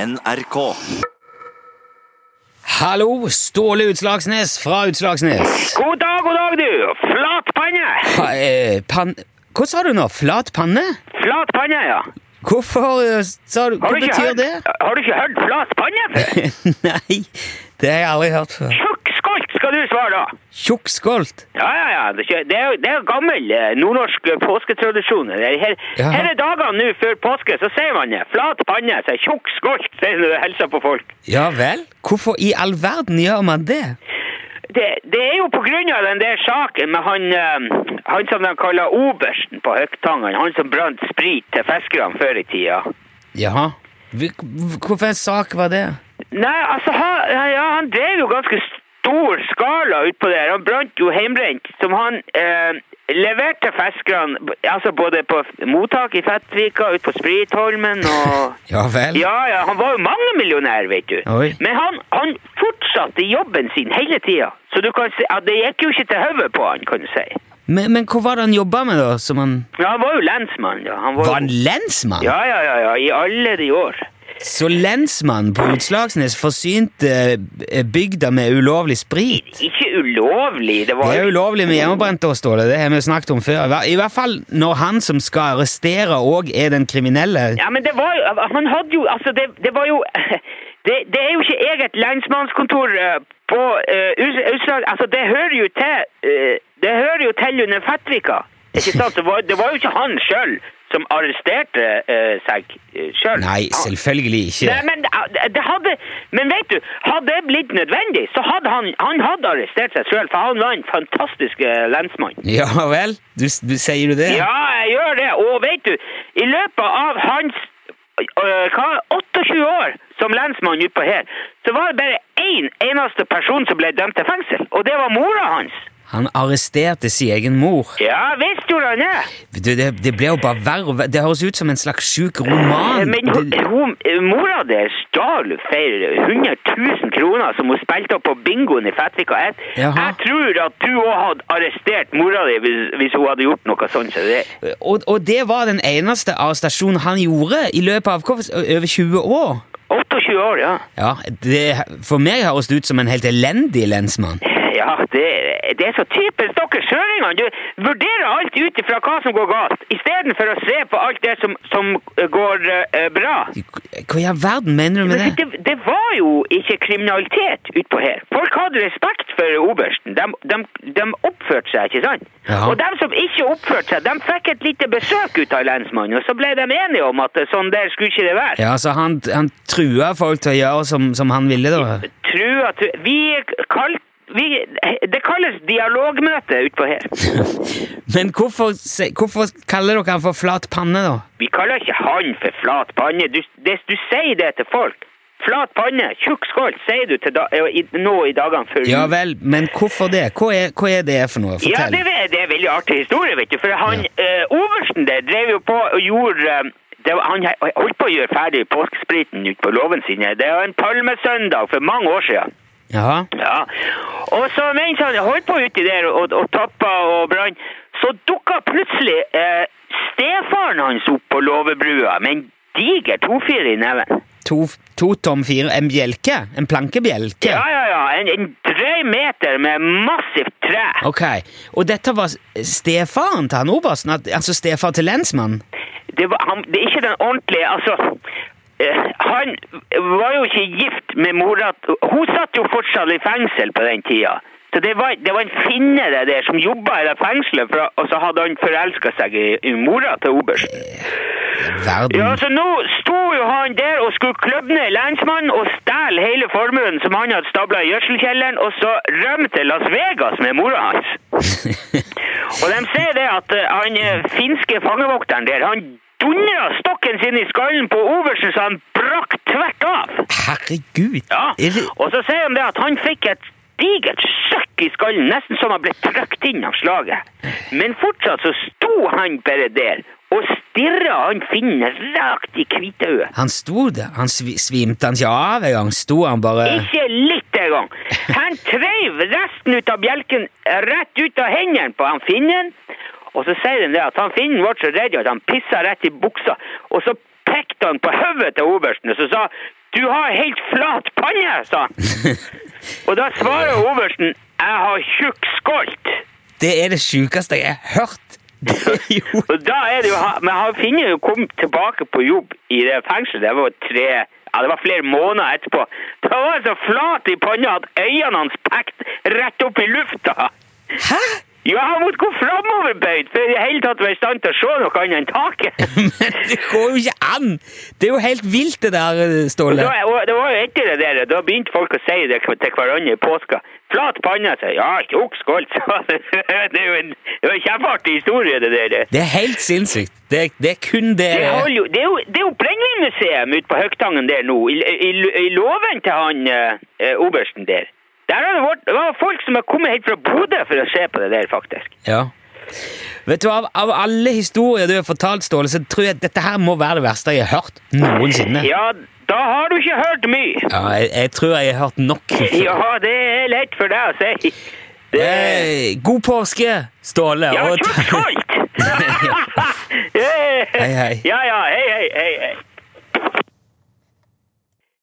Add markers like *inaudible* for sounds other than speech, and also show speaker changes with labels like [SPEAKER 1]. [SPEAKER 1] NRK.
[SPEAKER 2] Hallo, Ståle Utslagsnes fra Utslagsnes.
[SPEAKER 3] God dag, god dag, du! Flat panne!
[SPEAKER 2] Pa, eh, pan... Hva sa du nå? Flat panne?
[SPEAKER 3] Flat panne, ja.
[SPEAKER 2] Hvorfor eh, sa du Hva
[SPEAKER 3] du ikke
[SPEAKER 2] betyr
[SPEAKER 3] hørt,
[SPEAKER 2] det? *laughs*
[SPEAKER 3] har du ikke hørt flat panne før?
[SPEAKER 2] Nei, det har jeg aldri hørt før.
[SPEAKER 3] Tjukk skolt skal du svare da!
[SPEAKER 2] Tjukkskolt.
[SPEAKER 3] Ja, ja, ja. Det er ikke- det er jo- det er jo gammel eh, nordnorsk eh, påsketradisjon. Det er Her,
[SPEAKER 2] Ja.
[SPEAKER 3] her er dagene nå før påske, så sier man det. Flat panne, sier tjukk skolt, *laughs* sier du hilser på folk.
[SPEAKER 2] Ja vel? Hvorfor i all verden gjør man det?
[SPEAKER 3] Det, det er jo på grunn av den der saken med han, eh, han som de kaller obersten på Høgtangen, han som brant sprit til fiskerne før i tida.
[SPEAKER 2] Jaha. Hvorfor en sak var det?
[SPEAKER 3] Nei, altså, han, ja, han drev jo ganske stor skala utpå der. Han brant jo heimbrent, som han eh, leverte til fiskerne, b- altså både på f- mottak i Fettvika, ut på Spritholmen
[SPEAKER 2] *laughs*
[SPEAKER 3] og
[SPEAKER 2] Ja vel?
[SPEAKER 3] Ja, ja, han var jo mangemillionær, vet du.
[SPEAKER 2] Oi.
[SPEAKER 3] Men han, han fortsatte jobben sin hele tida. Så du kan si at det gikk jo ikke til hodet på han, kan du si.
[SPEAKER 2] Men, men hva var det han jobba med, da? Som han
[SPEAKER 3] Ja, han var jo lensmann, ja. Han var,
[SPEAKER 2] Var han
[SPEAKER 3] jo-
[SPEAKER 2] lensmann?
[SPEAKER 3] ja, ja, ja, ja, i alle de år.
[SPEAKER 2] Så lensmannen på Utslagsnes forsynte eh, bygda med ulovlig sprit?
[SPEAKER 3] Ikke ulovlig, det var
[SPEAKER 2] Det er ulovlig med hjemmebrent, da, Ståle. Det har vi jo snakket om før. I hver- I hvert fall når han som skal arrestere, òg er den kriminelle.
[SPEAKER 3] Ja, men det var jo Han hadde jo Altså, det, det var jo *laughs* det, det er jo ikke eget lensmannskontor eh, på eh, Us- Utslag... Altså, det hører jo til eh, Det hører jo til under Fettvika.
[SPEAKER 2] *laughs*
[SPEAKER 3] Ikke sant? Det var, det var jo ikke han sjøl som arresterte eh, seg sjøl.
[SPEAKER 2] Nei, selvfølgelig
[SPEAKER 3] Nei,
[SPEAKER 2] ikke.
[SPEAKER 3] men det- det hadde Men vet du, hadde det blitt nødvendig, så hadde han Han hadde arrestert seg sjøl, for han var en fantastisk eh, lensmann.
[SPEAKER 2] Ja vel? Du, s- du, sier du det?
[SPEAKER 3] Ja, jeg gjør det. Og vet du, i løpet av hans øh, hva, 28 år som lensmann utpå her, så var det bare én eneste person som ble dømt til fengsel, og det var mora hans.
[SPEAKER 2] Han arresterte sin egen mor.
[SPEAKER 3] Ja visst gjorde han det.
[SPEAKER 2] Du, det, det ble jo bare verre og verre. Det høres ut som en slags sjuk roman.
[SPEAKER 3] Men hun,
[SPEAKER 2] Det-
[SPEAKER 3] hun, mora der stjal flere 100 000 kroner som hun spilte opp på bingoen i Fettvika. Jeg,
[SPEAKER 2] Jaha.
[SPEAKER 3] jeg tror at du òg hadde arrestert mora di hvis, hvis hun hadde gjort noe sånt. som det.
[SPEAKER 2] Og, og det var den eneste arrestasjonen han gjorde i løpet av hvor- over 20 år.
[SPEAKER 3] 28 år, ja.
[SPEAKER 2] Ja, det, For meg høres det ut som en helt elendig lensmann.
[SPEAKER 3] *laughs* Ja, det, det er så typisk dere søringene. Du vurderer alt ut ifra hva som går galt, istedenfor å se på alt det som, som eh, går eh, bra.
[SPEAKER 2] Hva i all verden mener du med
[SPEAKER 3] Men
[SPEAKER 2] det?
[SPEAKER 3] det, det var jo ikke kriminalitet utpå her. Folk hadde respekt for obersten. De, de, de oppførte seg, ikke sant?
[SPEAKER 2] Ja.
[SPEAKER 3] Og de som ikke oppførte seg, de fikk et lite besøk ut av lensmannen, og så ble de enige om at eh, sånn der skulle ikke det være.
[SPEAKER 2] Ja, så han, han trua folk til å gjøre som, som han ville, da?
[SPEAKER 3] Trua, tru, vi kalt, vi, det kalles dialogmøte utpå her.
[SPEAKER 2] *laughs* Men hvorfor, se- hvorfor kaller dere han for flat panne, da?
[SPEAKER 3] Vi kaller ikke han for flat panne. Du, det, du sier det til folk. Flat panne, tjukk skål, sier du til da, eh, i, nå i dagene før.
[SPEAKER 2] Ja vel, men hvorfor det? Hva er, hva er det for
[SPEAKER 3] Ja,
[SPEAKER 2] noe? Fortell.
[SPEAKER 3] det, er- det er veldig artig historie, vet du. For han, eh, oversten der drev jo på og gjorde... eh, det var, han he- holdt på å gjøre ferdig påskespriten ute på låven sine. Det var en palmesøndag for mange år siden.
[SPEAKER 2] Jaha.
[SPEAKER 3] Ja. Og så mens han holdt på uti der og, og tappa og brann, så dukka plutselig eh, stefaren hans opp på låvebrua med en diger tofyr i neven.
[SPEAKER 2] To, to tom fire En bjelke? En plankebjelke?
[SPEAKER 3] Ja, ja, ja. En, en drøy meter med massivt tre.
[SPEAKER 2] Ok. Og dette var s- stefaren til han obersten? at- Altså stefar til lensmannen?
[SPEAKER 3] Det, var, han, det er ikke den ordentlige Altså, eh, han var jo ikke gift med mora t- Hun satt jo fortsatt i fengsel på den tida. Så det var, det var en finne det der som jobba i det fengselet, for, og så hadde han forelska seg i, i mora til obersten.
[SPEAKER 2] Verden.
[SPEAKER 3] Ja, så nå sto jo han der og skulle kløbbe ned lensmannen og stjele hele formuen som han hadde stabla i gjødselkjelleren, og så rømme til Las Vegas med mora hans. Og de sier det at eh, han eh, finske fangevokteren der, han dundra stokken sin i skallen på oversen så han brakk tvert av.
[SPEAKER 2] Herregud.
[SPEAKER 3] Ja,
[SPEAKER 2] Er det,
[SPEAKER 3] og så sier de det at han fikk et digert søkk i skallen, nesten som han ble trøkt inn av slaget. Men fortsatt så sto han bare der, og stirra han finnen rakt i hvite øyet.
[SPEAKER 2] han sto der. Han svi, svimte han ikke av engang? Sto han bare
[SPEAKER 3] Ikke litt engang. Han treiv resten ut av bjelken rett ut av hendene på han finnen. Og så sier de det at han finnen ble så redd at han pissa rett i buksa. Og så pekte han på hodet til obersten og så sa Du har helt flat panne, sa han. Og da svarer obersten jeg har tjukk skolt.
[SPEAKER 2] Det er det sjukeste jeg har hørt! Det er jo
[SPEAKER 3] *laughs* Og da er det jo, ha- Men han finner jo kom tilbake på jobb i det fengselet. Det var tre ja, det var flere måneder etterpå. Da var han så flat i panna at øynene hans pekte rett opp i lufta.
[SPEAKER 2] Hæ?!
[SPEAKER 3] Ja, han måtte gå framoverbøyd for i det hele tatt å være i stand til å se noe annet enn taket.
[SPEAKER 2] Men det går jo ikke an! Det er jo helt vilt, det der, Ståle.
[SPEAKER 3] Da, og det var jo etter det der, da begynte folk å si det til hverandre i påska. Flat panne, sa jeg. Ja, tjukk skål, sa han. *laughs* Det er jo en, det var en kjempeartig historie, det der.
[SPEAKER 2] Det er helt sinnssykt. Det, det er kun det
[SPEAKER 3] Det, holder jo, det er jo, det er jo Brennvinmuseum ute på Høgtangen der nå, i, i, i låven til han eh, eh, obersten der. Der har det vært, det var folk som har kommet helt fra Bodø for å se på det der, faktisk.
[SPEAKER 2] Ja. Vet du, av, av alle historier du har fortalt, Ståle, så tror jeg dette her må være det verste jeg har hørt noensinne.
[SPEAKER 3] Ja, da har du ikke hørt mye.
[SPEAKER 2] Ja, jeg, jeg tror jeg har hørt nok.
[SPEAKER 3] Ja, det er lett for deg å si. Det,
[SPEAKER 2] Eh, god påske, Ståle.
[SPEAKER 3] ja,
[SPEAKER 2] og-
[SPEAKER 3] *laughs* tjukk salt!
[SPEAKER 2] *laughs* Hei, hei.
[SPEAKER 3] Ja, ja, hei, hei, hei, hei.